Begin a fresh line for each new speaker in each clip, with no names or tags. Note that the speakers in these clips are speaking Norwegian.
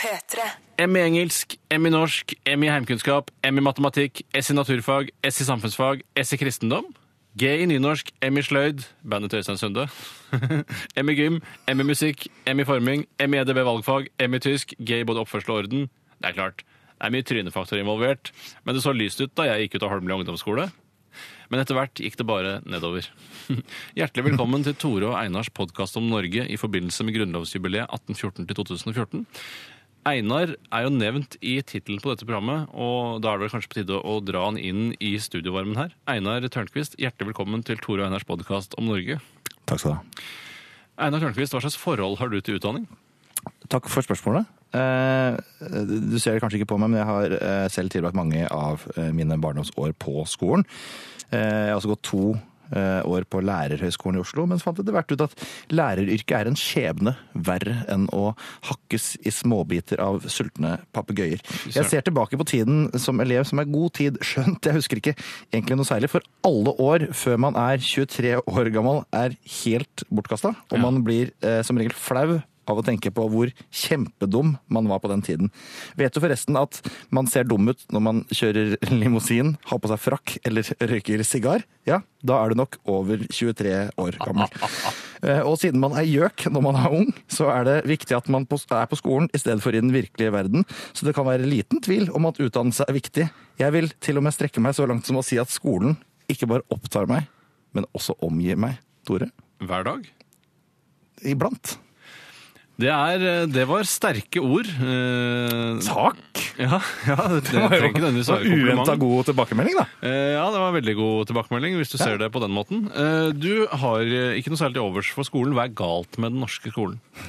P3.
M i engelsk, M i norsk, M i heimkunnskap, M i matematikk, S i naturfag, S i samfunnsfag, S i kristendom. G i nynorsk, M i sløyd, bandet til Øystein Sunde. M i gym, M i musikk, M i forming, M i EDB valgfag, M i tysk, G i både oppførsel og orden. Det er klart, det er mye trynefaktor involvert, men det så lyst ut da jeg gikk ut av Holmlia ungdomsskole. Men etter hvert gikk det bare nedover. Hjertelig velkommen til Tore og Einars podkast om Norge i forbindelse med grunnlovsjubileet 1814-2014. Einar er jo nevnt i tittelen på dette programmet, og da er det vel kanskje på tide å dra han inn i studiovarmen her. Einar Tørnquist, hjertelig velkommen til Tore og Einars podkast om Norge.
Takk skal du ha.
Einar Tørnquist, hva slags forhold har du til utdanning?
Takk for spørsmålet. Eh, Du ser det kanskje ikke på meg, men jeg har eh, selv tilbrakt mange av eh, mine barndomsår på skolen. Eh, Jeg har også gått to eh, år på Lærerhøgskolen i Oslo, men fant etter hvert ut at læreryrket er en skjebne verre enn å hakkes i småbiter av sultne papegøyer. Jeg ser tilbake på tiden som elev som er god tid, skjønt jeg husker ikke egentlig noe særlig, for alle år før man er 23 år gammel er helt bortkasta, og man blir eh, som regel flau av å tenke på hvor kjempedum man var på den tiden. Vet du forresten at man ser dum ut når man kjører limousin, har på seg frakk eller røyker sigar? Ja, da er du nok over 23 år gammel. Eh, Og siden man er gjøk når man er ung, så er det viktig at man på- er på skolen i stedet for i den virkelige verden. Så det kan være liten tvil om at utdannelse er viktig. Jeg vil til og med strekke meg så langt som å si at skolen ikke bare opptar meg, men også omgir meg, Tore.
Hver dag?
Iblant.
Det, er, eh, det var sterke ord. Eh,
Takk!
Ja, ja det, det trenger ikke nødvendigvis å være
Uventa
kompliment.
god tilbakemelding, da.
Eh, Ja, det var en veldig god tilbakemelding, hvis du ser det på den måten. Eh, Du har eh, ikke noe særlig til overs for skolen. Hva er galt med den norske skolen?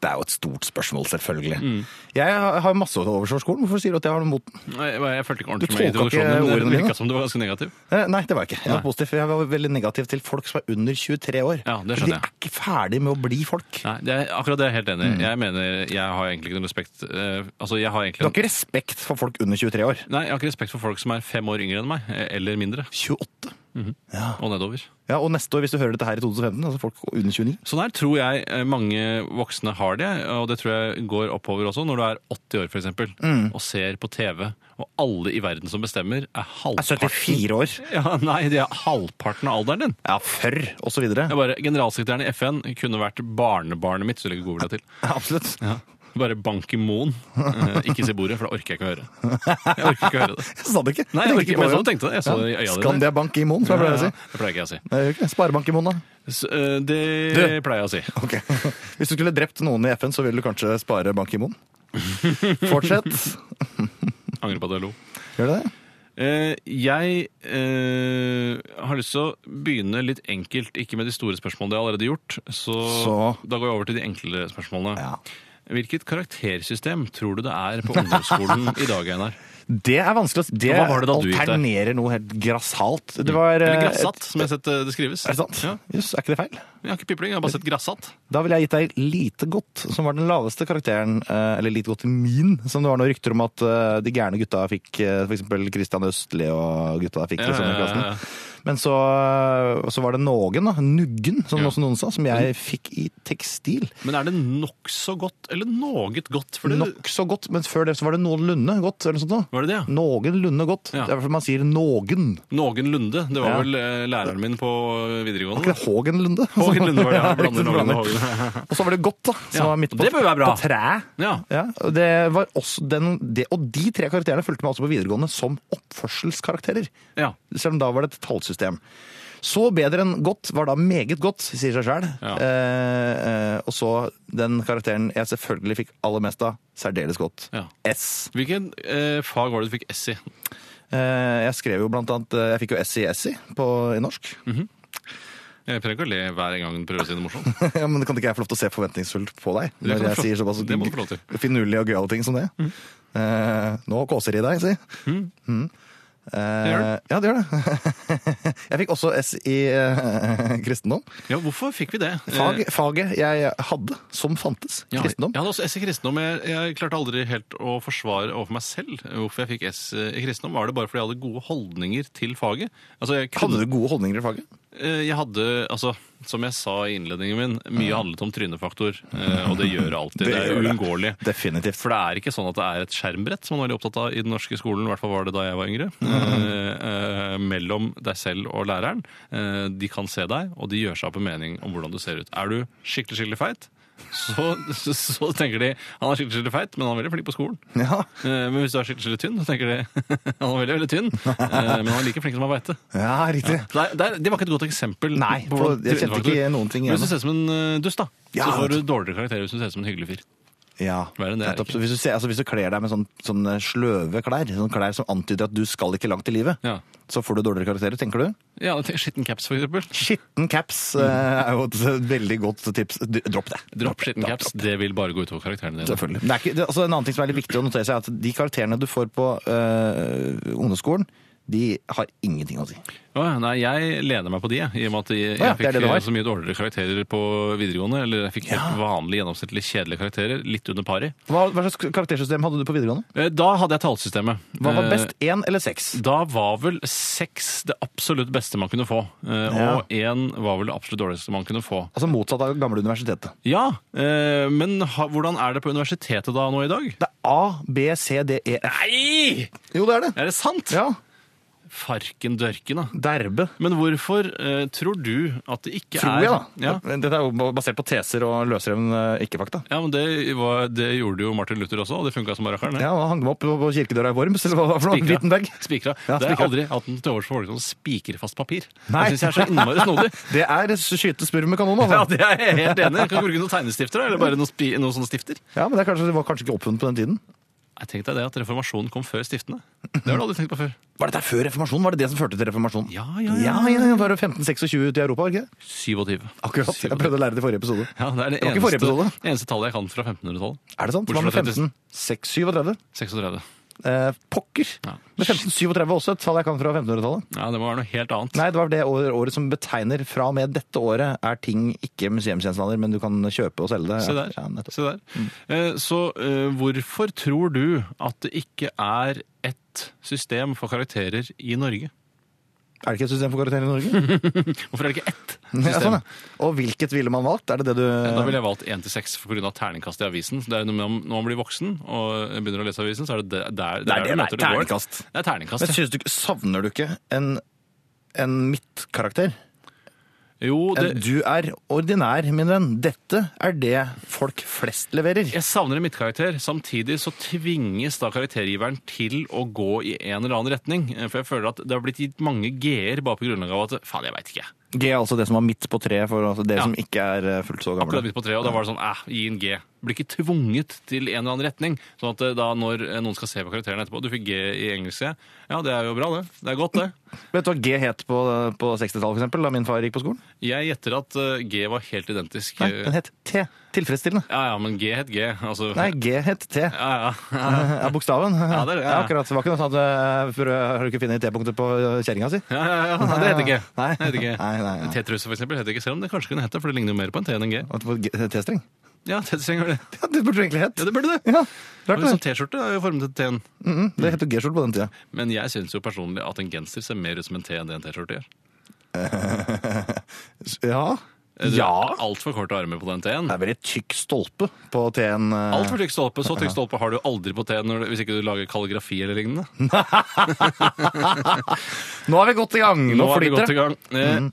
det er jo et stort spørsmål, selvfølgelig.
Mm.
Jeg har har masse overs over skolen. Hvorfor sier du at jeg har noe mot den?
Nei, Jeg følte ikke ordentlig
Du
med
tolka ikke
introduksjonen.
ordene
Det
mine.
virka som du var ganske negativ.
Eh, Nei, det var jeg ikke. Jeg var positiv. for Jeg var veldig negativ til folk som er under 23 år.
Ja, det
For
skjønner
de er ikke ferdig med å bli folk.
Nei, det er, akkurat det er jeg helt
Mm.
enig i. Jeg mener, jeg har egentlig ikke noe respekt eh, Altså, jeg har
Du
egentlig
har ikke respekt for folk under 23 år.
Nei, jeg har ikke respekt for folk som er fem år yngre enn meg, eh, eller mindre,
28.
og nedover.
Ja, Og neste år, hvis du hører dette her i 2015, altså folk under 29
Sånn her tror jeg eh, mange voksne har det, og det tror jeg går oppover også når du er 80 år, f.eks.,
Mm.
og ser på TV, og alle i verden som bestemmer, er
er
halvparten
74 år.
Ja, nei, det er halvparten av alderen din.
Ja, før, og så videre.
Jeg bare, Generalsekretæren i FN kunne vært barnebarnet mitt. så legger jeg godvilja til.
Absolutt.
Ja. Bare bank i moen. Eh, ikke se bordet, for da orker jeg ikke å høre. Jeg orker ikke å høre det.
Jeg sa det ikke.
Nei, jeg
Tenkte
orker ikke, men
på
sånn tenkte jeg. Jeg så det i øya dine.
Skandia Bank i Moen, som jeg pleier å si.
Ja, ja, Det pleier ikke jeg å si.
Nei, jeg gjør ikke det. Sparebank i Moen, da.
Så, eh, det
Du.
pleier jeg å si.
Ok. Hvis du skulle drept noen i FN, så ville du kanskje spare Ban Ki-moon? Fortsett.
Angrer på at jeg lo.
Gjør du det?
Eh, jeg eh, har lyst til å begynne litt enkelt, ikke med de store spørsmålene det har jeg allerede gjort. Så,
Så.
da går jeg over til de enkle spørsmålene.
Ja.
Hvilket karaktersystem tror du det er på ungdomsskolen i dag, Einar?
Det er vanskelig å si. Det,
Hva var det da du gikk der?
alternerer noe helt grassat. Det var eh,
Eller grassatt, som jeg har sett eh, det skrives.
et- Er det sant?
Ja.
Jøss, er ikke det feil?
Jeg har ikke pipling, jeg har bare sett grassatt.
Da ville jeg gitt deg lite godt, som var den laveste karakteren, eh, eller lite godt i min, som det var noen rykter om at eh, de gærne gutta fikk, eh, for eksempel Kristian Østli og gutta fikk,
Ja,
liksom, i
ja, ja,
klassen.
ja.
Men så, eh, så var det Någen, da, Nuggen, som
Ja. Mm.
også noen sa, som jeg fikk i tekstil.
Men er det nokså godt, eller noget godt? For det,
Nokså godt, men før det så var det noenlunde godt, eller noe sånt da.
Var det det, ja?
Noenlunde godt.
Ja.
Det er derfor man sier noen.
Noenlunde. Det var
Ja.
vel eh, læreren min på eh,
Var ikke
videregående.
det Hågenlunde? Altså,
Hågenlunde var det, ja.
Ja,
Blander
riktig,
Någen og
blander.
Hågen.
Og så var det godt, da. Som
Ja,
var midt på,
det bør være bra.
på treet.
Ja.
Ja, og det var også den, det, og de tre karakterene fulgte meg også på videregående som oppførselskarakterer.
ja.
Selv om da var det et tallsystem. Så bedre enn godt var da meget godt, sier seg sjøl.
Ja.
Eh, eh, og så den karakteren jeg selvfølgelig fikk aller mest av, særdeles godt.
Ja.
S.
Hvilken eh, fag var det du fikk S i?
Eh, jeg skrev jo blant annet eh, Jeg fikk jo S i S i på, i norsk.
Mm. Jeg trenger ikke å le hver gang du prøver å si noe morsomt.
ja, men Kan ikke jeg få lov til å se forventningsfullt på deg?
kan
Når
du
jeg
få-
sier såpass
det må du få lov til.
finurlige og gøyale ting som det.
Mm.
Eh, nå kåser de deg, si. Mm. Eh,
gjør det.
ja, det gjør det. jeg fikk også S i eh, kristendom.
Ja, hvorfor fikk vi det?
Fag,
Eh,
faget jeg hadde, som fantes.
ja,
Kristendom.
Jeg hadde også S i kristendom. Jeg, jeg klarte aldri helt å forsvare overfor meg selv hvorfor jeg fikk S i kristendom. Var det bare fordi jeg hadde gode holdninger til faget? Altså, jeg kunne,
Hadde du gode holdninger i faget?
eh, jeg hadde altså, Som jeg sa i innledningen min, mye handlet om trynefaktor. eh, Og det gjør det alltid. Det er
gjør det.
uunngåelig.
Definitivt.
For det er ikke sånn at det er et skjermbrett som man er veldig opptatt av i den norske skolen, i hvert fall var det da jeg var yngre. Eh, eh, mellom deg selv og læreren. Eh, de kan se deg, og de gjør seg opp en mening om hvordan du ser ut. Er du skikkelig, skikkelig feit, så, så, så tenker de han er skikkelig, skikkelig feit, men han er veldig flink på skolen.
Ja,
Eh, men hvis du er skikkelig, skikkelig tynn, så tenker de han er veldig, veldig tynn, eh, men han er like flink som han beite.
ja riktig.
Så Det, er- det, er- det var ikke et godt eksempel.
Nei,
på
for
hvordan
jeg kjente
trynefaktor-
ikke noen ting
Men Hvis du
igjen.
ser ut som en eh, dust, da,
Ja.
så får du dårligere karakter hvis du ser ut som en hyggelig fyr.
Ja,
Verre enn det er
nettopp.
det
Så Hvis du, ser, altså hvis du kler deg med sånn, sånne sløve klær, sånne klær som antyder at du skal ikke langt i livet,
Ja.
så får du dårligere karakterer, tenker du?
Ja, tenk- Skitten caps, for eksempel.
Skitten caps eh, er jo et veldig godt tips. D- Dropp det.
Mm. Dropp skitten caps. Det vil bare gå utover karakterene dine.
Selvfølgelig. Det er ikke, det, altså en annen ting som er litt viktig å notere seg, er at de karakterene du får på eh, ungdomsskolen, de har ingenting å si.
Åja, nei, jeg lener meg på de, jeg, i og med at jeg,
Åja,
jeg
det er
fikk
det det var.
eh, så mye dårligere karakterer på videregående. Eller jeg fikk helt vanlige, gjennomsnittlig kjedelige karakterer. Litt under pari.
Hva, hva slags karaktersystem hadde du på videregående?
Eh, Da hadde jeg tallsystemet.
Hva var
Eh,
best, én eller seks?
Da var vel seks det absolutt beste man kunne få. Eh,
Ja.
Og én var vel det absolutt dårligste man kunne få.
Altså motsatt av gamle universitetet.
Ja, eh, men ha, hvordan er det på universitetet da nå i dag?
Det er A, B, C, D, E, F.
Nei!
Jo, det er det.
Er det sant?
Ja.
Farken dørken, da.
Derbe.
Men hvorfor eh, tror du at det ikke
Tror
er
jeg, da.
Ja.
Dette er jo basert på teser og løsrevne ikke-fakta.
Ja, men det, var, det gjorde jo Martin Luther også, og det funka som rakkeren. det.
Ja, hang dem opp på kirkedøra i Worms, eller hva det var for noe?
Spikra.
Wittenberg?
Spikra. det
Ja,
har jeg
spikra.
aldri hatt en til overs for folk som spiker fast papir.
Nei.
Det syns jeg er så innmari snodig.
Det er skyte spurv med kanon,
Ja,
altså.
det er jeg helt enig i. Kan du bruke noen tegnestifter, da? Eller bare noen, spi, noen sånne stifter?
Ja, men det, er kanskje, det var kanskje ikke oppfunnet på den tiden.
Jeg tenkte deg det at reformasjonen kom før stiftene. Det har du aldri tenkt på før.
Var dette før reformasjonen? Var det det som førte til reformasjonen?
Ja, ja, ja.
Ja, ja, ja, Var det 1526 ute i Europa, var det ikke det?
27.
Akkurat. Jeg prøvde å lære det i forrige episode.
Ja, det er det,
Det var ikke forrige
eneste,
episode.
eneste tallet jeg kan fra 1500-tallet.
Er det sant?
Bortsett
Hva med
fra 30.
1537?
36.
Eh, pokker!
Ja.
Men 1537 var også et tall jeg kan fra 1500-tallet.
Ja, det må være noe helt annet.
Nei, det var det år- året som betegner fra og med dette året er ting ikke museumsgjenstander, men du kan kjøpe og selge det.
Se der.
Ja, nettopp. Mm.
Se der. Eh, Så eh, hvorfor tror du at det ikke er ett system for karakterer i Norge?
er det ikke et system for karakterer i Norge?
Hvorfor er det ikke ett system?
ja, sånn, ja. Og hvilket ville man valgt? Er det det du
Da ville jeg valgt 1-6 pga. terningkastet i avisen. Så Det er jo noe med om, Når man blir voksen og begynner å lese avisen, så er det der, der, der
det,
du
nei,
møter det går.
terningkast.
Det er terningkast.
Men synes du, ikke- savner du ikke en, en midtkarakter?
ja. Jo, det,
En Eh, Du er ordinær, min venn. Dette er det folk flest leverer.
jeg savner en midtkarakter. Samtidig så tvinges da karaktergiveren til å gå i en eller annen retning. Eh, For jeg føler at det har blitt gitt mange g-er bare på grunnlag av at faen, jeg veit ikke.
G er altså det som var midt på treet for altså, dere
Ja.
som ikke er eh, fullt så
akkurat
gamle.
midt på treet, og da var det sånn eh, gi en G. Blir ikke tvunget til en eller annen retning. Sånn at eh, da når eh, noen skal se på karakteren etterpå Du fikk G i engelsk, ja. Ja, det er jo bra, det. Det er godt, det.
Vet du hva G het på, eh, på 60-tallet, for eksempel, da min far gikk på skolen?
Jeg gjetter at eh, G var helt identisk.
Nei,
eh,
den het T. Tilfredsstillende.
Ja, ja, men G het G. Altså
Nei, G het T.
Ja, ja. ja.
Ja, bokstaven.
Ja, det er det, ja.
akkurat. Det var ikke noe sånn at eh, for, eh, Har du ikke funnet T-punktet på eh, kjerringa si?
Ja, ja, ja, Nei, det heter G.
Nei.
Det heter G.
Nei, nei, nei.
T-truse, for eksempel, heter ikke, selv om det kanskje kunne hett det, for det ligner jo mer på en T enn en G.
At det var G- T-streng?
Ja, T-truse gjør det.
Ja, det burde du egentlig hett.
Ja, det burde det.
Ja,
Og
rart det.
liksom T-skjorte er jo formet til T-en.
Mm, det het jo G-skjorte på den tida.
Men jeg syns jo personlig at en genser ser mer ut som en T enn det en T-skjorte gjør.
Ja.
Altfor korte armer på den T-en.
Det er veldig tykk stolpe på T-en. eh.
Altfor tykk stolpe. Så tykk stolpe har du aldri på T-en når du- hvis ikke du lager kalligrafi eller lignende.
Mm.
Nå,
Nå er vi godt i gang! Nå,
er vi godt i
flyter det. Mm.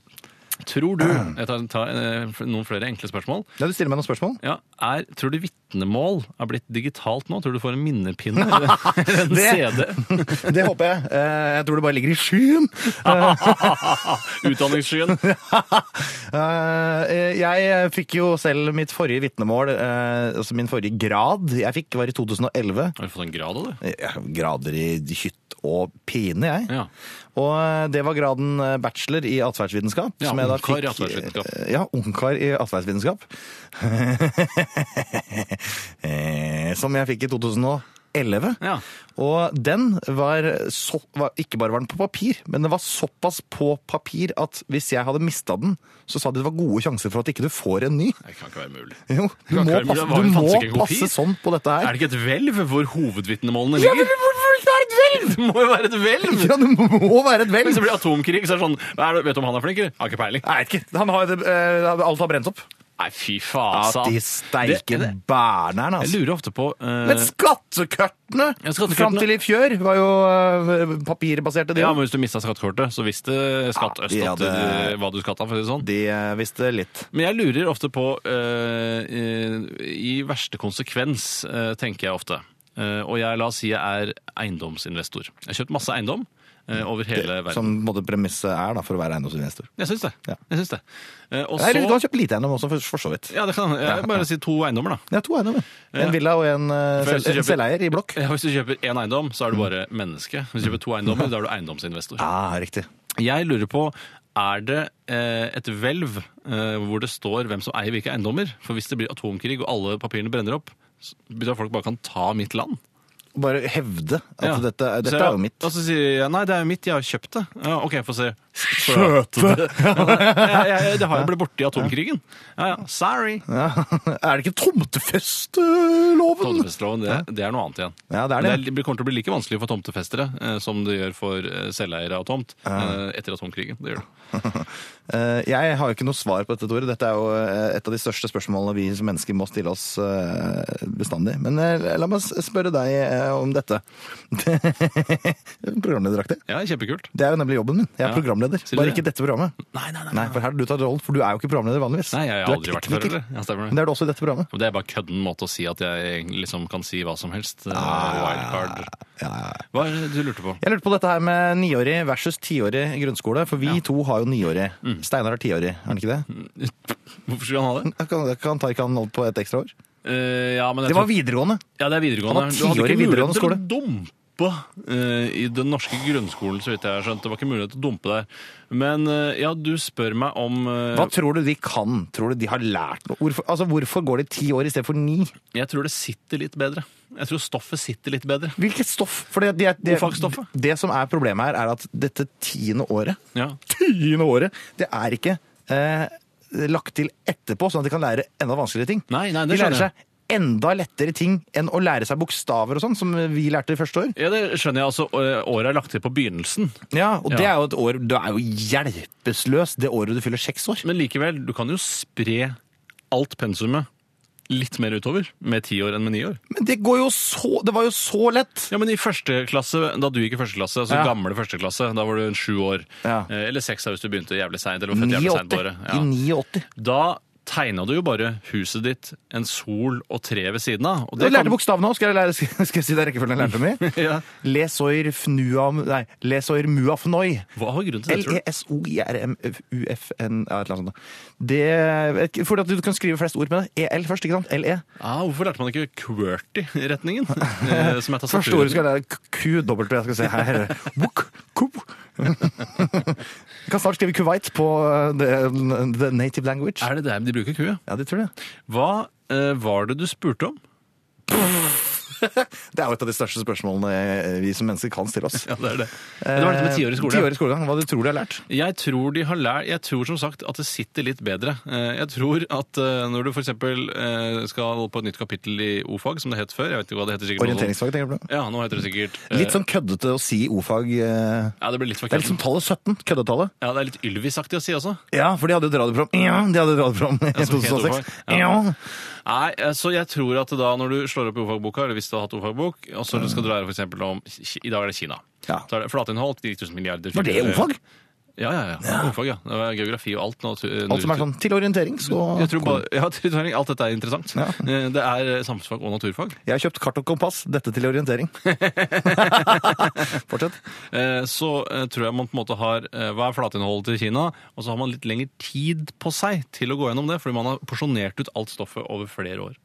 gang. Eh, Tror du Jeg tar, tar eh, noen flere enkle spørsmål.
Ja, du stiller meg noen spørsmål.
Ja, er, tror du vitnemål er blitt digitalt nå? Tror du du får en minnepinne eller eller en
Det-
CD?
Det håper jeg. Eh, Jeg tror det bare ligger i skyen.
Utdanningsskyen.
Eh, Jeg fikk jo selv mitt forrige vitnemål, eh, altså min forrige grad, jeg fikk var i 2011.
Har du fått en grad av det?
Jeg har Grader i hytt og pine, jeg.
Ja.
Og eh, det var graden bachelor i atferdsvitenskap.
Ja,
som jeg da
ungkar i
fikk- eh,
atferdsvitenskap.
Ja, ungkar i atferdsvitenskap. Eh, som jeg fikk i 2011.
Ja.
Og den var, så, var Ikke bare var den på papir, men den var såpass på papir at hvis jeg hadde mista den, så sa de det var gode sjanser for at ikke du får en ny.
Det kan ikke være mulig.
Jo, du
kan
må
ikke være-
passe,
det var jo
du
faktisk
må
ikke en kopi.
passe sånn på dette
Er
her.
det ikke et hvelv hvor hovedvitnemålene ligger?
hvorfor er det vel
hvelv! Det må jo være et hvelv!
Ja, det må være et vel!
Hvis det blir atomkrig, så er det sånn hva er det, Vet du om han er flink, eller? Har ikke peiling.
Jeg vet ikke. Han har, eh, alt har brent opp.
Nei, fy faen. altså.
De
Det-
steike
det-
bærneren,
Jeg
altså.
lurer ofte på eh,
Men skattekuttene
Ja, skattekuttene.
fram til i fjør var jo eh, papirbaserte, de
Ja,
òg.
men Hvis du mista skattekortet, så visste Skatt
Ja,
Øst
de
at du,
hadde-
hva du skatta. for å si det sånn.
De eh, visste litt.
Men jeg lurer ofte på eh, eh, I verste konsekvens, eh, tenker jeg ofte. Eh, og jeg la oss si jeg er eiendomsinvestor. Jeg har kjøpt masse eiendom eh, over hele verden.
Som på en måte premisset er da, for å være eiendomsinvestor.
Jeg syns det.
sånn- Ja.
Jeg syns det. Eh, og
Eller du
så
har kjøpt lite eiendom også, for, for så vidt.
ja, det kan, jeg vil bare si to eiendommer, da.
Jeg har to eiendommer. En villa og en, eh,
For hvis
selv,
du
en
kjøper-
selveier i blokk.
Ja, Hvis du kjøper én eiendom, så er du bare menneske. Hvis du kjøper to eiendommer, da er du eiendomsinvestor.
Ja, riktig.
Jeg lurer på, er det eh, et hvelv eh, hvor det står hvem som eier hvilke eiendommer? For hvis det blir atomkrig og alle papirene brenner opp, så betyr det at folk bare kan ta mitt land.
Bare hevde at
Ja.
dette,
Så
dette
jeg-
er jo mitt.
Og så sier jeg nei, det er jo mitt, jeg har kjøpt det. Ja, ok, få se.
Skjøte!
Ja, ja, ja, det har jeg blitt borte i atomkrigen. Ja, ja, sorry.
Ja. Er det ikke tomtefesteloven?
Tomtefesteloven, det, det er noe annet igjen.
Ja, det er
Men
det.
Det kommer til å bli like vanskelig for tomtefestere eh, som det gjør for eh, selveiere av tomt eh, etter atomkrigen. Det gjør det.
Eh, Jeg har jo ikke noe svar på dette, Tore. Dette er jo eh, et av de største spørsmålene vi som mennesker må stille oss eh, bestandig. Men eh, la meg s- spørre deg eh, om dette. Programlederaktig.
Ja, kjempekult.
Det er jo nemlig jobben min. Jeg er
Ja.
programleder.
Sier du
Bare
det?
ikke dette programmet.
Nei, nei, nei.
Nei, for her har du tatt rollen, for du er jo ikke programleder vanligvis.
Nei, jeg
Du
har
er
aldri vært det før,
tekniker.
eller? Ja, stemmer det.
Men det er det også i dette programmet.
Men Det er bare kødden måte å si at jeg liksom kan si hva som helst. eh,
Ah.
Wildcard. Hva er det du lurte på?
Jeg lurte på dette her med niårig versus tiårig grunnskole, for vi to har jo niårig.
Mm.
Steinar har tiårig, er han ikke det?
Hvorfor skulle han ha det?
Da Kan, da kan tar ikke han holdt på et ekstra år?
Eh, ja, men jeg
Det var
tror,
videregående.
ja, det er videregående.
Han var
Du hadde
ti år i
ikke mulighet
videregående
til å dumpe eh, i den norske grunnskolen, så vidt jeg har skjønt. Det var ikke mulighet til å dumpe der. Men eh, ja, du spør meg om eh,
Hva tror du de kan? Tror du de har lært noe? Hvorfor, altså, hvorfor går de ti år i stedet for ni?
Jeg tror det sitter litt bedre. Jeg tror stoffet sitter litt bedre.
Hvilket stoff? For det, det, det,
Godfagsstoffet.
det som er problemet her, er at dette tiende året,
Ja.
tiende året, det er ikke eh, lagt til etterpå, sånn at de kan lære enda vanskeligere ting.
Nei, nei,
de
det
lærer
skjønner jeg.
seg enda lettere ting enn å lære seg bokstaver og sånn, som vi lærte i første år.
Ja, det skjønner jeg. altså. eh, Året er lagt til på begynnelsen.
Ja, og det
Ja.
er jo et år Du er jo hjelpeløs det året du fyller seks år.
Men likevel, du kan jo spre alt pensumet litt mer utover med ti år enn med ni år.
Men det går jo så Det var jo så lett!
Ja, men i første klasse, da du gikk i første klasse, altså
Ja.
gamle første klasse, da var du en sju år.
Ja.
Eh, Eller seks da hvis du begynte jævlig seint, eller var født jævlig seint på
89.
året.
I
Ja.
89.
Da tegna du jo bare huset ditt, en sol og tre ved siden av. Og
Du
kan-
lærte bokstavene òg, skal, jeg lære- skal jeg si det er rekkefølgen jeg lærte dem i?
Ja.
Lesoir fnuam... Nei, lesoir muafnoi. E
Hva var grunnen til det, tror du?
L-E-S-O-I-R-M-U-F-N ja, Et eller annet sånt. Det, fordi at du kan skrive flest ord med det. EL først, ikke sant? E. LE.
Ah, hvorfor lærte man ikke QWERTY-retningen? eh, som jeg tar
Første ordet skal være QW. Jeg skal se her. Wuk, kup. Jeg kan snart skrive Kuwait på uh, the, the native language.
Er det der de bruker Q, ja?
Ja, det tror jeg.
Hva eh, var det du spurte om?
Det er jo et av de største spørsmålene eh, vi som mennesker kan stille oss.
Ja, det er det. Men det var dette med tiår i skole. ja.
Tiårig Eh, skolegang, Hva du tror du har lært?
Jeg tror, de har lært, jeg tror som sagt at det sitter litt bedre. Eh, Jeg tror at eh, når du f.eks. skal på et nytt kapittel i O-fag, som det het før jeg vet ikke hva det heter sikkert nå.
Orienteringsfag, tenker du på?
Ja, nå heter det sikkert eh,
Litt sånn køddete å si i o-fag. eh,
Ja, det blir litt for
Det er litt som
kødden.
tallet 17, køddetallet.
Ja, det er litt Ylvis-aktig å si også.
Ja, for de hadde et radioprogram Ja, de hadde et radioprogram i
som
2006.
het O-fag.
Ja.
Ja. Nei, eh, så jeg tror at da når du slår opp i O-fagboka, eller hvis du har hatt O-fagbok, og så skal du lære f.eks. om Ki- I dag er det Kina.
Ja.
Så er det Flateinnhold, 9000 milliarder
Var det o-fag?
Ja, ja, ja. O-fag, ja. Det var geografi og alt. eh, natur-
Alt som er sånn til orientering, så
Jeg tror bare, ja, Trygghetstrening, alt dette er interessant.
Ja.
Eh, Det er eh, samfunnsfag og naturfag.
Jeg har kjøpt kart og kompass, dette til orientering. Fortsett.
Eh, Så eh, tror jeg man på en måte har eh, Hva er flateinnholdet til Kina? Og så har man litt lengre tid på seg til å gå gjennom det, fordi man har porsjonert ut alt stoffet over flere år.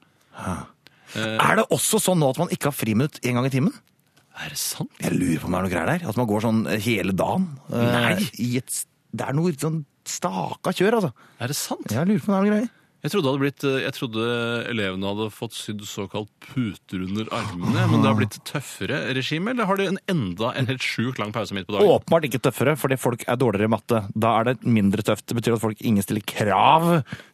Er det også sånn nå at man ikke har friminutt én gang i timen?
Er det sant?
Jeg lurer på om det er noe greier der. At man går sånn hele dagen. eh,
Nei.
I et, s- det er noe sånn staka kjør, altså.
Er det sant?
Jeg lurer på om det er noe greier.
Jeg trodde, det hadde blitt, eh, jeg trodde elevene hadde fått sydd såkalt puter under armene, men det har blitt tøffere regime, eller har de en enda en helt sjukt lang pause midt på dagen?
Åpenbart ikke tøffere, fordi folk er dårligere i matte. Da er det mindre tøft. Det betyr at folk ingen stiller krav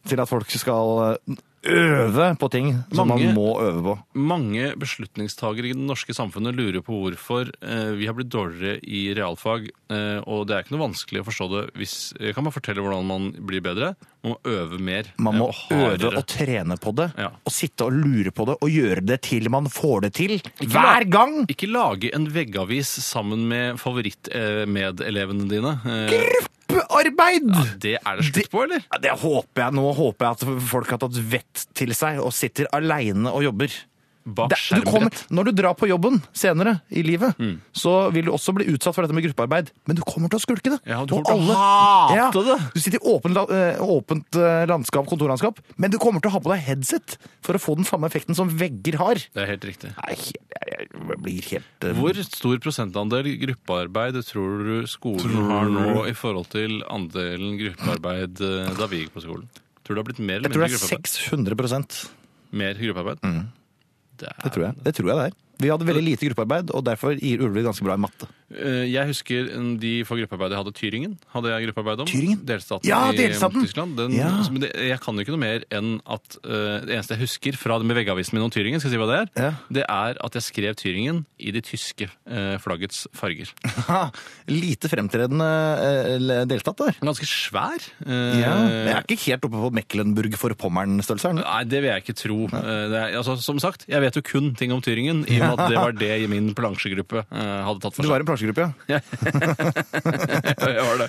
til at folk skal eh, øve på ting som
Mange-
man må øve på.
Mange beslutningstagere i det norske samfunnet lurer på hvorfor eh, vi har blitt dårligere i realfag. Eh, og det er ikke noe vanskelig å forstå det. Hvis, jeg kan bare fortelle hvordan man blir bedre. Man må øve mer.
Man må
eh, og
øve
hardere.
og trene på det,
Ja.
og sitte og lure på det, og gjøre det til man får det til. Hver gang!
Ikke lage en veggavis sammen med favorittmedelevene dine. Eh,
Arbeid!
det er det slutt på, eller?
Ja, Det håper jeg nå. Håper jeg at folk har tatt vett til seg og sitter aleine og jobber.
Bak
Det, du kommer,
skjermbrett.
når du drar på jobben senere i livet,
Mm.
så vil du også bli utsatt for dette med gruppearbeid. Men du kommer til å skulke det.
Ja, du kommer
Og
til å hate
ja,
det.
Du sitter i åpent, la- eh, åpent eh, landskap, kontorlandskap, men du kommer til å ha på deg headset for å få den samme effekten som vegger har.
Det er helt riktig.
Nei, jeg, jeg, jeg blir helt eh,
Hvor stor prosentandel gruppearbeid tror du skolen har nå i forhold til andelen gruppearbeid eh, da vi gikk på skolen? Tror du det har blitt mer eller
Jeg tror
mindre
det er
gruppearbeid?
600 Det
Mer gruppearbeid?
Mm.
Det er-
tror jeg det tror jeg det er. Vi hadde veldig lite gruppearbeid, og derfor gir Ulvik ganske bra i matte.
Eh, Jeg husker en- de for gruppearbeid jeg hadde, Tyringen. hadde jeg gruppearbeid om.
Thüringen?
Delstaten
Ja,
i
delstaten!
Tyskland. Den,
Ja.
altså, men det, jeg kan jo ikke noe mer enn at eh, det eneste jeg husker fra det med veggavisen min om Tyringen, skal jeg si hva det er,
Ja.
det er at jeg skrev Tyringen i de tyske eh, flaggets farger.
Ha, lite fremtredende eh, delstat der.
Ganske svær. eh,
Ja. Jeg er ikke helt oppe på Mecklenburg for Pommern-størrelse her nå.
Nei, det vil jeg ikke tro. Eh, Det er, altså, som sagt, jeg vet jo kun ting om Tyringen, i og med at det var det i min plansjegruppe eh, hadde tatt for seg.
Du var i en plansjegruppe, ja?
Jeg var det.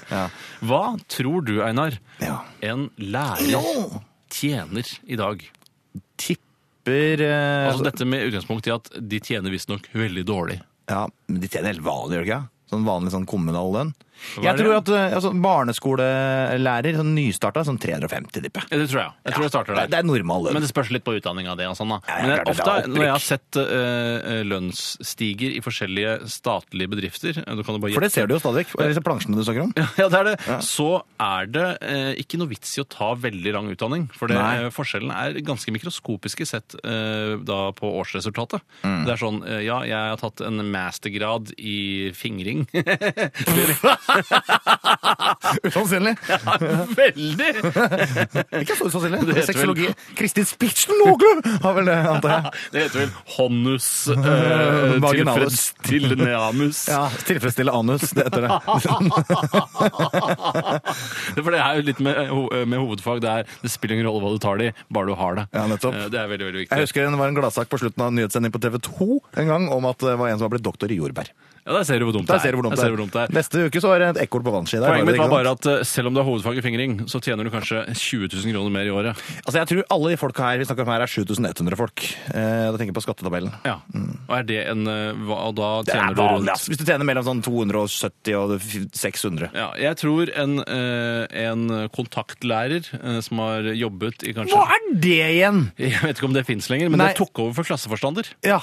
Hva tror du, Einar,
Ja.
en lærer tjener i dag?
Tipper eh,
Altså dette med utgangspunkt i at de tjener visstnok veldig dårlig.
Ja, men de tjener helt vanlig, gjør de ikke? Sånn vanlig sånn kommunal lønn.
Hva er
Jeg
det?
tror at eh, altså, barneskolelærer, sånn nystarta, sånn 350, tipper jeg.
Ja, Det tror jeg. Jeg tror jeg starter
Det,
der.
det er normal
Men
lønn.
det spørs litt på utdanninga di. og Sånn, da.
Ja, ja,
Men jeg,
klart det,
ofte
det er opprykk.
når jeg har sett eh, lønnsstiger i forskjellige statlige bedrifter eh, du kan jo bare
For det ser du jo stadig vekk. og Disse plansjene du snakker om.
Ja, det er det. Så er det eh, ikke noe vits i å ta veldig lang utdanning. For det,
Nei.
eh, forskjellen er ganske mikroskopiske sett eh, da på årsresultatet.
Mm.
Det er sånn eh, Ja, jeg har tatt en mastergrad i fingring.
Usannsynlig.
veldig!
Ikke så
Det
usannsynlig.
heter vel-
Sexologi. Kristin Spitsen Någlum har vel det, antar jeg.
Det heter vel honus eh,
Vaginalus.
tilfredsstilleneamus.
Ja, Tilfredsstille anus, det heter det.
For det er jo litt med, eh, ho- med hovedfag. Det, er, det spiller ingen rolle hva du tar det i, bare du har det.
Ja, nettopp.
Eh, Det er veldig, veldig viktig.
Jeg husker det var en gladsak på slutten av en nyhetssending på TV 2 en gang om at det var en som var blitt doktor i jordbær.
Ja, der ser du hvor dumt
Der ser du hvor
Der
dumt
ser du hvor dumt
det
det
er.
er.
Neste uke så er det et ekorn på vannski. der,
Poenget mitt var
ikke sant?
bare at eh, selv om du har hovedfag i fingring, så tjener du kanskje 20 000 kroner mer i året.
Altså, jeg tror alle de folka her vi snakker om her, er 7100 folk. Eh, da tenker jeg på skattetabellen.
Ja. Og er det en eh, hva, og Da
Det
tjener du
er vanlig,
rundt
ass. Hvis du tjener mellom sånn 270 og 600.
ja, jeg tror en, eh, en kontaktlærer eh, som har jobbet i kanskje
Hva er det igjen?!
Jeg vet ikke om det fins lenger, men
Nei.
det tok over for klasseforstander.
Ja.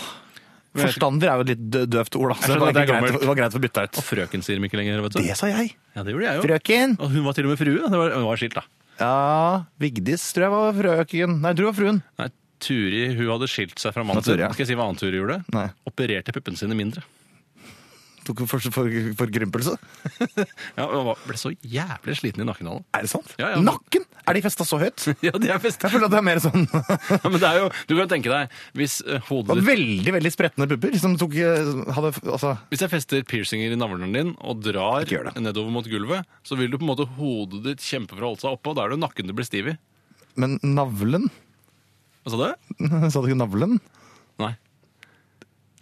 Forstander er jo et litt dø- døvt ord, da. Så
Jeg
det var,
skjønner at det er
ikke greit,
gammelt.
det var greit å få bytta ut.
Og frøken sier dem ikke lenger. vet du.
Det sa jeg!
Ja, det gjorde jeg jo.
Frøken!
Og hun var til og med frue. Det var, hun var skilt, da.
Ja, Vigdis tror jeg var frøken. Nei, du var fruen.
Nei, Turi hun hadde skilt seg fra mannen
Det var
sin.
Turi, ja.
Skal jeg si hva annet Turi gjorde?
Nei.
Opererte puppene sine mindre.
Tok for, for, for krympelse.
Ja, og var- Ble så jævlig sliten i nakkenhalen.
Er det sant?
Ja, ja.
Nakken! Er de festa så høyt? Jeg
Ja, det er best.
føler at det er mer sånn
Ja, men det er jo, du kan tenke deg, hvis eh, hodet
var
ditt
Veldig, veldig spretne pupper som tok eh, hadde, Altså
hvis jeg fester piercinger i navlen din og drar
Ikke gjør det.
nedover mot gulvet, så vil du på en måte hodet ditt kjempe for å holde seg oppe, og da er det jo nakken du blir stiv i.
Men navlen?
Hva sa du?
Sa du ikke navlen?
Nei.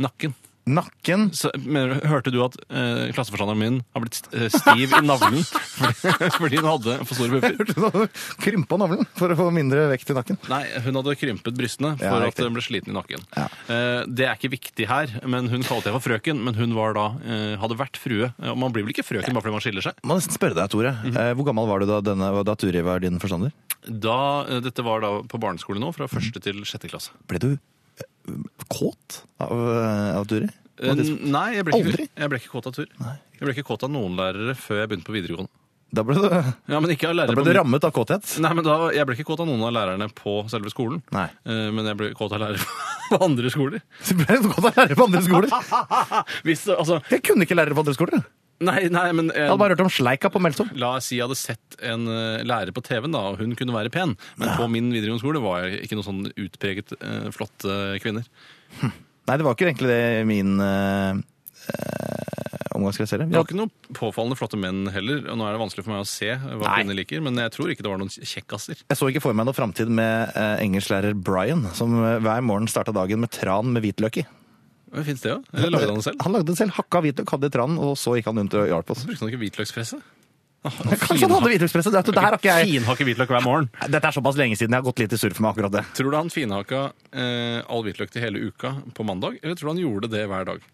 Nakken.
Nakken?
Så, mener, du- hørte du at eh, klasseforstanderen min har blitt st- eh, stiv i navlen fordi, fordi hun hadde for store pupper?
Hørte du at du krympa navlen for å få mindre vekt i nakken?
Nei, hun hadde krympet brystene for
Ja,
at
riktig.
hun ble sliten i nakken.
Ja.
Eh, det er ikke viktig her, men hun kalte jeg for frøken, men hun var da, eh, hadde vært frue. Og man blir vel ikke frøken bare fordi man skiller seg?
Må nesten spørre deg, Tore.
Mhm.
eh, Hvor gammel var du da, denne, da Turi var din forstander?
Da, eh, dette var da på barneskole nå, fra første til sjette klasse.
Ble du eh, kåt av, eh, av Turi?
Eh, Nei, jeg ble, ikke,
Aldri?
jeg ble ikke kåt av tur. Jeg ble ikke kåt av noen lærere før jeg begynte på videregående.
Da ble du, da
Ja, men ikke av lærere
ble
på
du
min-
rammet av kåthet?
Nei, men da, Jeg ble ikke kåt av noen av lærerne på selve skolen,
Nei.
Eh, men jeg ble kåt av lærere på andre skoler.
Du ble kåt av lærere på andre skoler?
Hvis, altså,
Jeg kunne ikke lærere på andre skoler.
Nei, nei, men eh,
Jeg hadde bare hørt om sleika på Melsom.
La oss si jeg hadde sett en eh, lærer på TV-en, da, og hun kunne være pen. Men på min videregående skole var jeg ikke noen sånn utpreget eh, flotte kvinner.
Nei, det var ikke egentlig det min eh, eh, omgangskrets heller.
Det var ikke noen påfallende flotte menn heller. og Nå er det vanskelig for meg å se hva
Nei.
kvinner liker, men jeg tror ikke det var noen kjekkaser.
Jeg så ikke for meg noen framtid med eh, engelsklærer Brian, som eh, hver morgen starta dagen med tran med hvitløk i.
Fins det jo? Eller lagde han det selv?
Han lagde det selv. Hakka hvitløk, hadde i tranen, og så gikk han rundt og hjalp oss.
Brukte han ikke hvitløkspresse? Ah,
Kanskje han hadde hvitløkspresse! Det, er- det her har ikke jeg
Finhakke hvitløk hver morgen.
Dette er såpass lenge siden jeg har gått litt i surf med akkurat det.
Tror du han finhakka eh, all hvitløk til hele uka på mandag, eller tror du han gjorde det hver dag?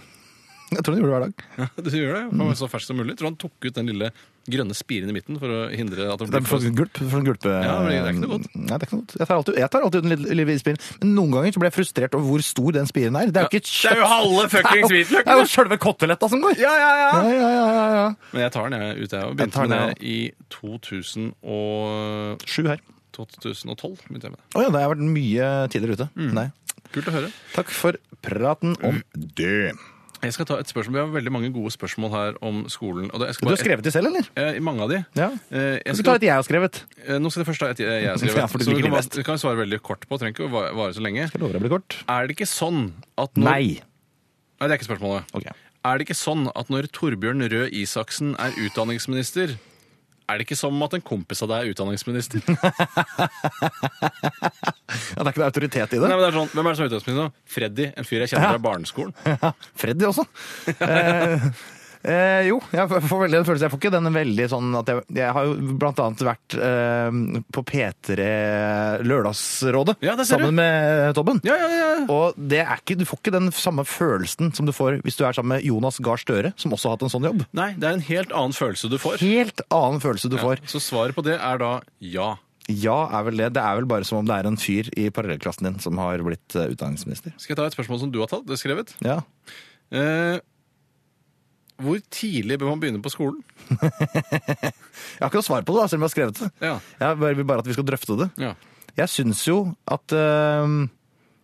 Jeg tror han gjorde det hver dag.
Du gjør det, for å være så fersk som mulig. Tror du han tok ut den lille grønne spiren i midten for å hindre at det
Det er for
ble
en gulp. For en gulpe,
Ja, men det er ikke noe godt.
Nei, det er ikke noe godt. Jeg tar alltid, jeg tar alltid den lille, lille spiren. Men noen ganger så blir jeg frustrert over hvor stor den spiren er. Det er jo ikke
Det er jo halve fuckings
Det
hvitløken!
er jo selve kotteletta som går!
Ja, ja, ja.
Ja, ja, ja, ja, ja.
Men jeg tar den, jeg, ut, jeg. Og
Jeg
begynte
tar
med
den,
det i 2000 og
Sju her.
2012. begynte jeg med det.
Å ja, det har vært mye tidligere ute.
Mm.
Nei.
Kult å høre.
Takk for praten
Mm.
om det.
Jeg skal ta et spørsmål. Vi har veldig mange gode spørsmål her om skolen. Og det, jeg skal
Du
bare,
har skrevet de selv, eller?
Eh, mange av de.
Ja.
Eh, jeg
Skal du
skal,
ta et jeg har skrevet?
eh, nå skal det først ta et jeg jeg har skrevet.
Ja, for du
så
liker
du kan,
de
va-
best.
du kan svare veldig kort på. Trenger ikke å va- vare så lenge.
Jeg lover jeg blir kort.
Er det ikke sånn at når,
Nei.
Nei, det er ikke spørsmålet.
Ok.
Er det ikke sånn at når Torbjørn Røe Isaksen er utdanningsminister er det ikke som at en kompis av deg er utdanningsminister? Nei,
Ja, det er ikke noe autoritet i det.
men det er sånn, Hvem er det som er utdanningsminister nå? Freddy, en fyr jeg kjenner fra barneskolen.
Ja, Freddy også. Eh, eh, jo, jeg får veldig den følelsen. Jeg får ikke den veldig sånn at jeg Jeg har jo blant annet vært eh, på P3 Lørdagsrådet
Ja, det ser du.
sammen med Tobben.
Ja, ja, ja.
Og det er ikke, du får ikke den samme følelsen som du får hvis du er sammen med Jonas Gahr Støre, som også har hatt en sånn jobb.
Nei, det er en helt annen følelse du får.
Helt annen følelse du får.
Så svaret på det er da ja.
Ja, er vel det. Det er vel bare som om det er en fyr i parallellklassen din som har blitt eh, utdanningsminister.
Skal jeg ta et spørsmål som du har tatt? Det er skrevet.
Ja.
Eh, hvor tidlig bør man begynne på skolen?
Jeg har ikke noe svar på det, da, selv om jeg har skrevet det.
Ja.
Jeg bare- vil bare at vi skal drøfte det.
ja.
Jeg syns jo at eh,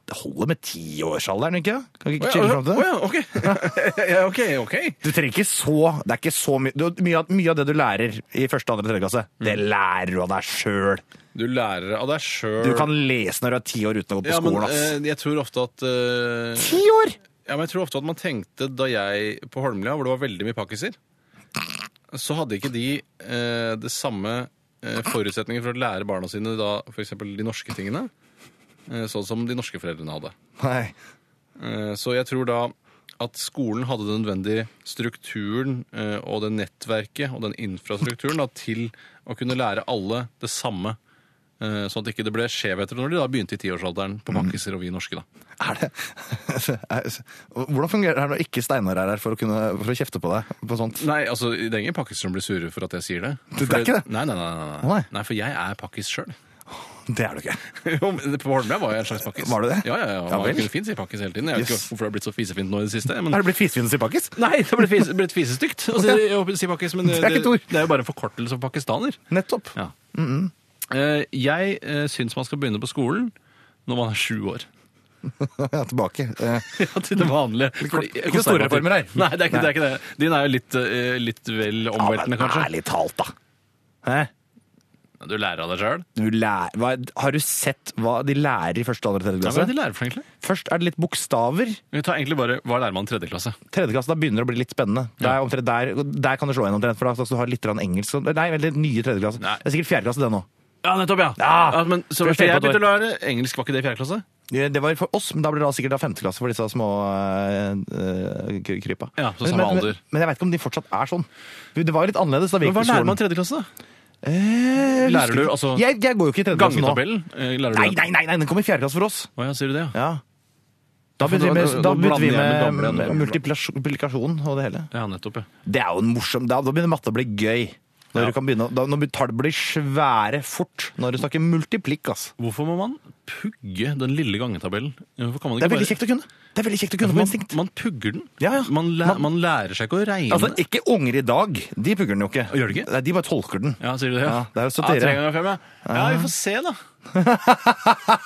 det holder med tiårsalderen, ikke sant? Kan vi ikke
Å
chille
ja, altså,
fram til
å
det?
ja, ok. ja, ok, ok.
Du trenger ikke så Det er ikke så mye du- mye, av- mye av det du lærer i første, andre, tredje klasse, det
Mm.
lærer du av deg sjøl.
Du lærer av deg sjøl.
Du kan lese når du er ti år uten å ha gått på
ja, men,
skolen, ass.
eh, jeg tror ofte at eh,
Ti år!
Ja, men jeg tror ofte at man tenkte da jeg på Holmlia, hvor det var veldig mye pakkiser, så hadde ikke de eh, det samme eh, forutsetninger for å lære barna sine da f.eks. de norske tingene, eh, sånn som de norske foreldrene hadde.
Nei.
Eh, så jeg tror da at skolen hadde den nødvendige strukturen eh, og det nettverket og den infrastrukturen da, til å kunne lære alle det samme. eh, Sånn at ikke det ble skjevheter når de da begynte i tiårsalderen
Mm.
på pakkiser og vi norske. da.
Er det Hvordan fungerer det når ikke Steinar er her for å, kunne, for å kjefte på deg på sånt?
Nei, altså, det er ingen pakkiser som blir sure for at jeg sier det.
Du, det er ikke det?
Nei, nei, nei, nei,
Å,
nei.
nei.
nei for jeg er pakkis sjøl.
Det er du ikke.
På Holmlia var jeg en slags pakkis.
Var du det?
Ja, ja, ja. Man
Ja vel.
kunne fint si pakkis hele tiden. Jeg vet
Yes.
ikke hvorfor det har blitt så fisefint nå i det siste. Men...
Er det blitt fisefins i pakkis?
Nei, det ble fise, blitt fisestygt å si, å si pakkis, men
Det er ikke et ord.
det er jo bare en forkortelse for pakistaner.
Nettopp.
Ja. Eh, Jeg uh, syns man skal begynne på skolen når man er sju år.
Ja, tilbake. Eh,
Ja, til det vanlige. Fordi-
Ikke noen store reformer her.
Nei, det er ikke det. Er ikke det. Din er jo litt, eh, litt vel omveltende, kanskje.
Ærlig talt, da. Hæ?
Du lærer av deg sjøl.
Du lærer, hva, har du sett hva de lærer i første, andre,
Hva
tredje
er det de
klasse?
lærer for, egentlig?
Først er det litt bokstaver.
Vi tar egentlig bare Hva lærer man i tredje klasse?
Tredje klasse da begynner det å bli litt spennende. Der, omtrent, der, der kan du slå igjen omtrent, for da skal du ha litt grann engelsk. Nei, vel, det er nye tredje klasse.
Nei.
Det er sikkert fjerde klasse, det nå.
Ja, nettopp, ja!
Ja.
men, så,
Først
for jeg
tenk på et
begynte å lære engelsk, var ikke det i fjerde klasse?
Det var for oss, men da blir det da sikkert da femte klasse for disse små eh, eh, kry- krypa.
Ja, så
Men-
samme
men, men,
alder.
Men jeg vet ikke om de fortsatt er sånn. Det var jo litt annerledes da vi
Men
gikk
hva
på
lærer man i
skolen.
tredje klasse, da?
Eh,
Lærer
husker
du,
ikke.
altså,
jeg, jeg går jo ikke i tredje klasse nå.
Gangetabellen? eh, Lærer du
Nei,
det?
nei, nei, nei, den kom i fjerde klasse for oss.
Å ja, sier du det, ja?
Ja. Da
for da-
begynte vi med,
da-
da
da
begynte vi
blander jeg med
med,
gamle
med
enn med
multiplikasjon og det hele.
Ja, nettopp, ja.
Det er jo en morsom Da, da begynner matte å bli gøy. Når
Ja.
du kan begynne, å- da, når tall blir svære fort. Når du snakker multiplikk, ass.
Hvorfor må man pugge den lille gangetabellen? Hvorfor kan man ikke
Det er veldig
bare
kjekt å kunne. Det er veldig kjekt å kunne på
man,
instinkt.
man pugger den.
Ja, ja.
Man, læ
Man-
man, lærer seg ikke å regne.
Altså, ikke unger i dag. De pugger den jo ikke.
Gjør de ikke?
Nei, de bare tolker den.
ja, sier du det?
Ja, det er jo satire.
Ja, tre ganger fem, ja. ja, vi får se, da.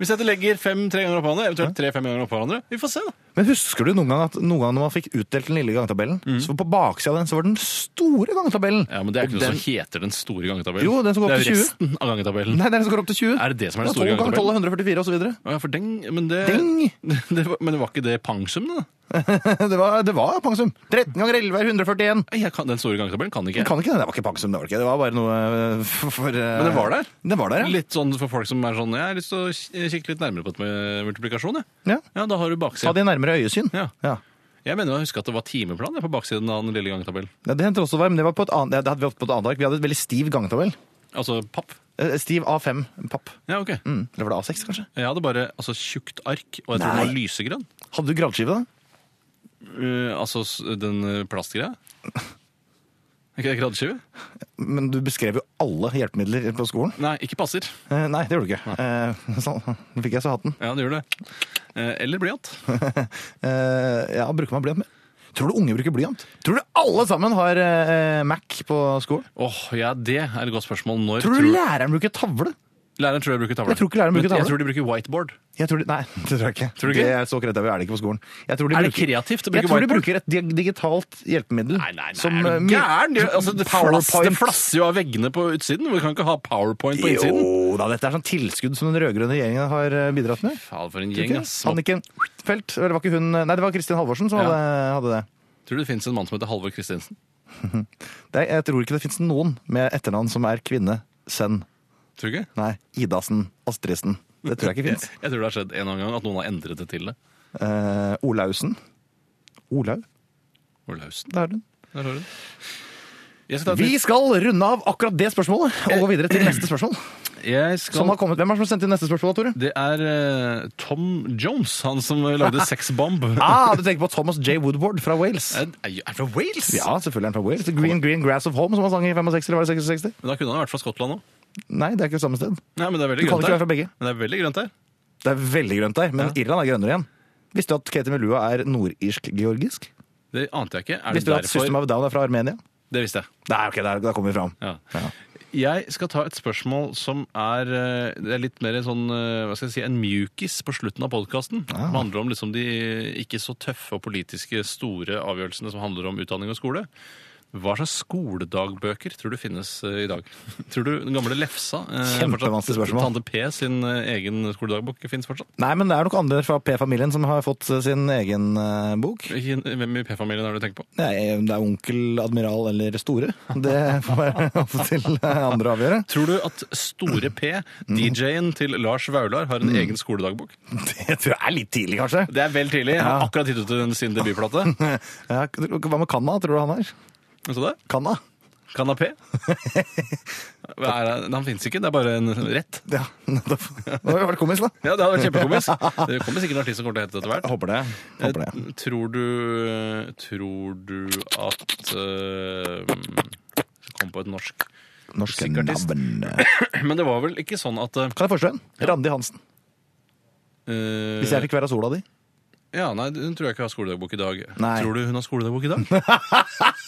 Hvis jeg legger fem tre ganger oppå hverandre, eventuelt tre fem ganger oppå hverandre, vi får se, da.
Men husker du noen gang at noen gang når man fikk utdelt den lille gangetabellen, så på baksida av den så var den store gangetabellen?
Mm. Ja, men Det er ikke
Og
noe
den-
som heter den store gangetabellen.
Jo, den som går
det er
opp til
jo
20.
resten av gangetabellen.
Nei, det er den som går opp til 20.
Er det det som er den
Ja,
store
12 ganger 12
gangetabellen?
er 144 og så videre.
Å Ja, for deng, men det,
Deng!
det var, Men var ikke det pangsum, da?
Det var, det var pangsum. 13 ganger 11 er 141.
Nei, Jeg kan, den store gangetabellen kan ikke
Kan ikke det. Det var ikke pangsum, det var det ikke. Det var bare noe eh, for, for Men
den var der.
Den var der, ja.
Litt sånn for folk som er sånn Jeg har lyst til å k- kikke litt nærmere på det med multiplikasjon. Jeg.
ja.
Ja, da har du
Ta
baksiden.
de nærmere øyesyn.
Ja.
Ja.
Jeg mener jeg husker at det var timeplan jeg, på baksiden av den lille gangetabellen.
Ja, det hendte også varm. Det var på et annet, det hadde vi ofte på et annet ark. Vi hadde et veldig stiv gangetabell.
Altså papp.
Eh, Stiv A5 papp.
Ja, ok.
Mm. Eller var det A6, kanskje?
Jeg hadde bare altså, tjukt ark, og jeg tror
Nei.
den var lysegrønn.
Hadde du gradskive, da?
Eh, altså s- den eh, plastgreia. Er ikke det gradeskive?
Men du beskrev jo alle hjelpemidler på skolen.
Nei, ikke passer.
Eh, nei, det gjorde du ikke. Eh, sånn. Nå fikk jeg så hatten.
Ja, det gjør det. Eh, eller blyant.
Eh, ja, bruker man blyant med? Tror du unge bruker blyant? Tror du alle sammen har eh, Mac på skolen?
Åh, ja, det er et godt spørsmål. Når
Tror du læreren bruker tavle?
Læreren tror jeg bruker tavle.
Jeg tror ikke læreren bruker
Men
tavle.
Jeg tror de bruker whiteboard.
Jeg tror de, nei, det tror jeg ikke.
Tror du ikke?
Det er så kreativ er det ikke på skolen. Jeg tror de
Er det
bruker,
kreativt å
jeg
bruke
tror de
whiteboard?
bruker et di- digitalt hjelpemiddel.
Nei, nei, nei,
som,
er
eh,
du
my-
gæren? Det, altså, det, flass, det
PowerPoint.
flasser jo av veggene på utsiden. Vi kan ikke ha powerpoint på innsiden.
Jo da, dette er sånn tilskudd som den rød-grønne regjeringen har eh, bidratt med.
Faen, for en gjeng,
Ikke?
ass.
Anniken Felt, eller var ikke hun Nei, det var Kristin Halvorsen som
Ja.
hadde, hadde det.
Tror du det finnes en mann som heter Halvor Kristiansen?
det. Jeg tror ikke det fins noen med etternavn som er kvinne. Send.
Tror du ikke?
Nei, Idasen. Astridsen. Det tror jeg ikke fins.
Jeg tror det har skjedd en eller annen gang at noen har endret det til det.
Eh, Olausen. Olaug,
Olausen.
det er hun.
Der har du det. Jeg skal ta et
Vi skal runde av akkurat det spørsmålet og gå videre til neste spørsmål.
nytt. Jeg
Som
skal...
har kommet. Hvem er det som har sendt inn neste spørsmål, Tore?
Det er eh, Tom Jones, han som lagde Sex Bomb.
Ah, du tenker på Thomas J. Woodward fra Wales.
Er er han fra Wales?
Ja, selvfølgelig er han fra Wales. Green Green Grass of Home, som han sang i 65, eller var det 66?
Men da kunne han vært fra Skottland òg.
Nei, det er ikke samme sted.
Nei, men det er
Du
veldig
kan
grønt
ikke være
der.
fra begge.
Men det er veldig grønt der.
Det er veldig grønt der, men Irland er grønnere igjen. Visste du at Katie Melua er nordirsk-georgisk?
Det ante jeg ikke. Er det
Visste du at
derfor
System of a Down er fra Armenia?
Det visste jeg.
Nei, ok, der, der kommer vi fram.
Ja.
Ja.
Jeg skal ta et spørsmål som er, eh, det er litt mer en sånn, eh, hva skal jeg si, en mjukis på slutten av podkasten. Det handler om liksom de ikke så tøffe og politiske store avgjørelsene som handler om utdanning og skole. Hva slags skoledagbøker tror du finnes eh, i dag? Tror du den gamle Lefsa, eh, fortsatt,
Kjempevanskelig spørsmål.
Tante P sin eh, egen skoledagbok, finnes fortsatt?
Nei, men det er nok andre fra P-familien som har fått eh, sin egen eh, bok.
Ikke- Hvem i P-familien er det du tenker på?
Nei, det er onkel, admiral eller store. Det får være opp til eh, andre å avgjøre.
Tror du at Store P, DJ-en til Lars Vaular, har en egen skoledagbok?
Det tror jeg er litt tidlig, kanskje.
Det er vel tidlig. Han har akkurat gitt ut en- sin debutplate.
Ja, hva med Kanna, tror du han er?
Hva sa du?
Kanna?
Kanapé? Er, han finnes ikke, det er bare en rett.
Ja, nettopp. Det hadde vært komisk, da.
Ja, Det hadde vært kjempekomisk. Det kommer sikkert en artist som kommer til å hete det etter hvert.
Jeg håper det. Håper det.
Eh, Tror du Tror du at eh, Jeg kom på et norsk
Norske
musikkartist.
navn.
Men det var vel ikke sånn at eh,
Kan jeg forstå en? Randi Hansen. Hvis jeg fikk være sola di.
Ja, nei, Hun tror jeg ikke har skoledagbok i dag.
Nei.
Tror du hun har skoledagbok i dag?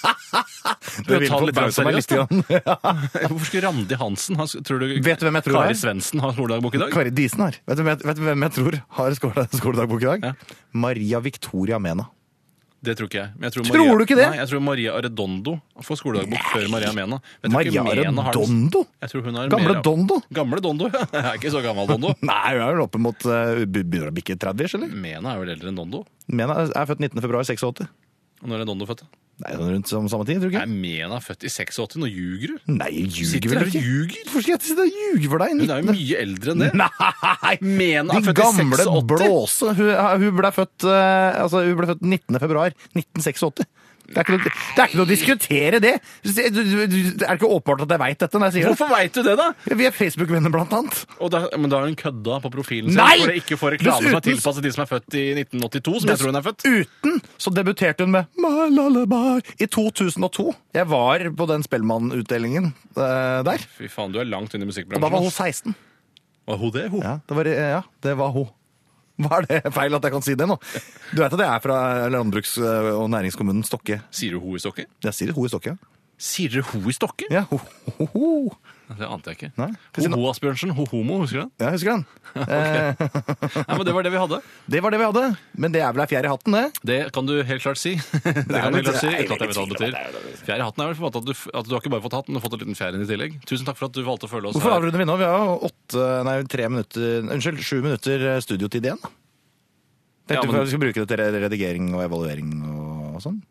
Det
vil
vil
folk
folk
ta
dra seg
seriøst,
litt. grann.
Hvorfor skulle Randi Hansen ha Tror du
Vet du hvem jeg tror det
Kari
er?
Svendsen har skoledagbok i dag?
Kari Disen her. Vet du, hvem jeg- vet du hvem jeg tror har skole, skoledagbok i dag?
Ja.
Maria Victoria Mena.
Det tror ikke jeg. Men jeg tror,
Tror
Maria,
du ikke det?
Nei, jeg tror Maria Arredondo får skoledagbok før Maria Mena. Men Jeg
Maria
tror ikke Mena har den-
Redondo?
Jeg tror hun har mer
Gamle
av-
Dondo?
Gamle Dondo, ja. Jeg er ikke så gammel Dondo.
Nei, hun er vel oppe mot eh, be- Begynner å bikke 30-ish, eller?
Mena er vel eldre enn Dondo?
Mena er født 19. februar 86.
Og Når er Dondo født? da?
Nei, sånn rundt som samme tid, tror du
Er
ikke?
Mena født i 86? Nå ljuger du!
Nei, jeg ljuger
Sitter
vel
her og
ikke?
ljuger!
Hvorfor skal jeg sitte og ljuge for deg?
Hun er jo mye eldre enn det.
Nei!
Mena er
De
født i
gamle
86!
blåse. Hun, hun, ble født, eh, altså, hun ble født 19. februar 1986. Det er, ikke noe, det er ikke noe å diskutere det! Du- du- du- Det er ikke åpenbart at jeg veit dette når jeg sier det.
Hvorfor veit du det, da?
Vi er Facebook-venner, blant annet.
Og da? Men da har hun kødda på profilen sin
Nei!
for å ikke få reklame som er
Dessuten-
tilpasset de som er født i 1982, som jeg tror hun er født.
Uten så debuterte hun med My Lullaby i 2002. Jeg var på den Spellemann-utdelingen eh, der.
Fy faen, du er langt inne i
Og da var
musikkbransjen.
hun
ass.
16.
Var hun det? Hun?
Ja, det var, eh, ja, det var hun. Hva er det feil at jeg kan si det nå? Du veit at jeg er fra landbruks- og næringskommunen Stokke?
Sier du hun i stokket?
Jeg sier hun i Stokke, ja.
Sier dere ho i stokke?
Ja, ho, ho, ho.
Det ante jeg ikke.
Nei.
Ho-ho Asbjørnsen, ho-homo, husker du den?
Ja, husker han.
Nei, men Det var det vi hadde.
Det var det vi hadde. Men det er vel ei fjær i hatten, det?
Det kan du helt klart si. Det kan du helt klart si,
det liksom. er
uten at jeg vet hva det
veldig
betyr. Fjær i hatten er vel på en måte at du, f- at du har ikke bare fått hatten, du har fått en liten fjær inn i tillegg. Tusen takk for at du valgte å følge oss
Hvorfor
her.
avrunder vi nå? Vi har jo åtte, nei, tre minutter, unnskyld, sju minutter eh, studiotid igjen. da. Tenkte
Ja,
ja,
men-
vi skulle bruke det til redigering og evaluering og sånn.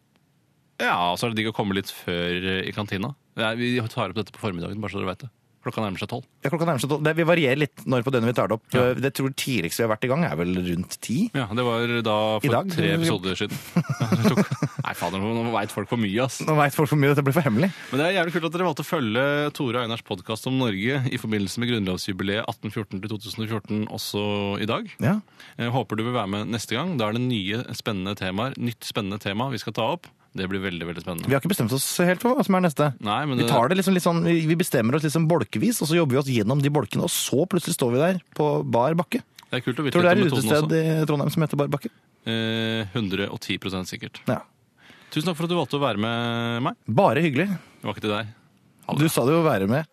Ja, og så er det digg å komme litt før eh, i kantina. Nei, vi tar opp dette på formiddagen, bare så dere vet det. Klokka nærmer seg tolv.
Ja, klokka nærmer seg tolv. Det- Vi varierer litt når på døgnet vi tar det opp.
Ja.
Det tror jeg tidligst vi har vært i gang, er vel rundt ti.
Ja, det var da
I
for
dag?
tre episoder siden. Ja, det tok. Nei, fader, nå- nå veit folk for mye, ass.
Nå veit folk for mye, dette blir for hemmelig.
Men det er jævlig kult at dere valgte å følge Tore og Einars podkast om Norge i forbindelse med grunnlovsjubileet 1814-2014 også i dag.
Ja.
Jeg Eh, håper du vil være med neste gang. Da er det nye spennende temaer. Nytt spennende tema vi skal ta opp. Det blir veldig, veldig
Vi
spennende.
har ikke bestemt oss helt for hva som er neste.
Nei, men
Vi tar det liksom litt sånn, vi vi bestemmer oss liksom bolkevis, og så jobber vi oss gjennom de bolkene, og så plutselig står vi der på bar bakke.
eh, det er kult å vite
Tror du det
litt om
er et
metoden
utested
også.
i Trondheim som heter Bar bakke?
Eh, 110 sikkert.
Ja.
Tusen takk for at du valgte å være med meg.
Bare hyggelig.
Det var ikke til deg. Ha det.
Du sa det jo å være med.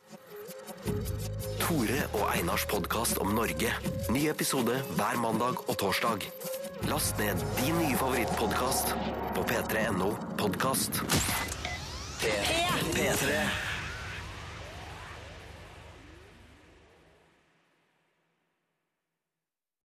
Tore og Einars podkast om Norge. Ny episode hver mandag og torsdag. Last ned din nye favorittpodkast på p3.no podkast. P3. P3.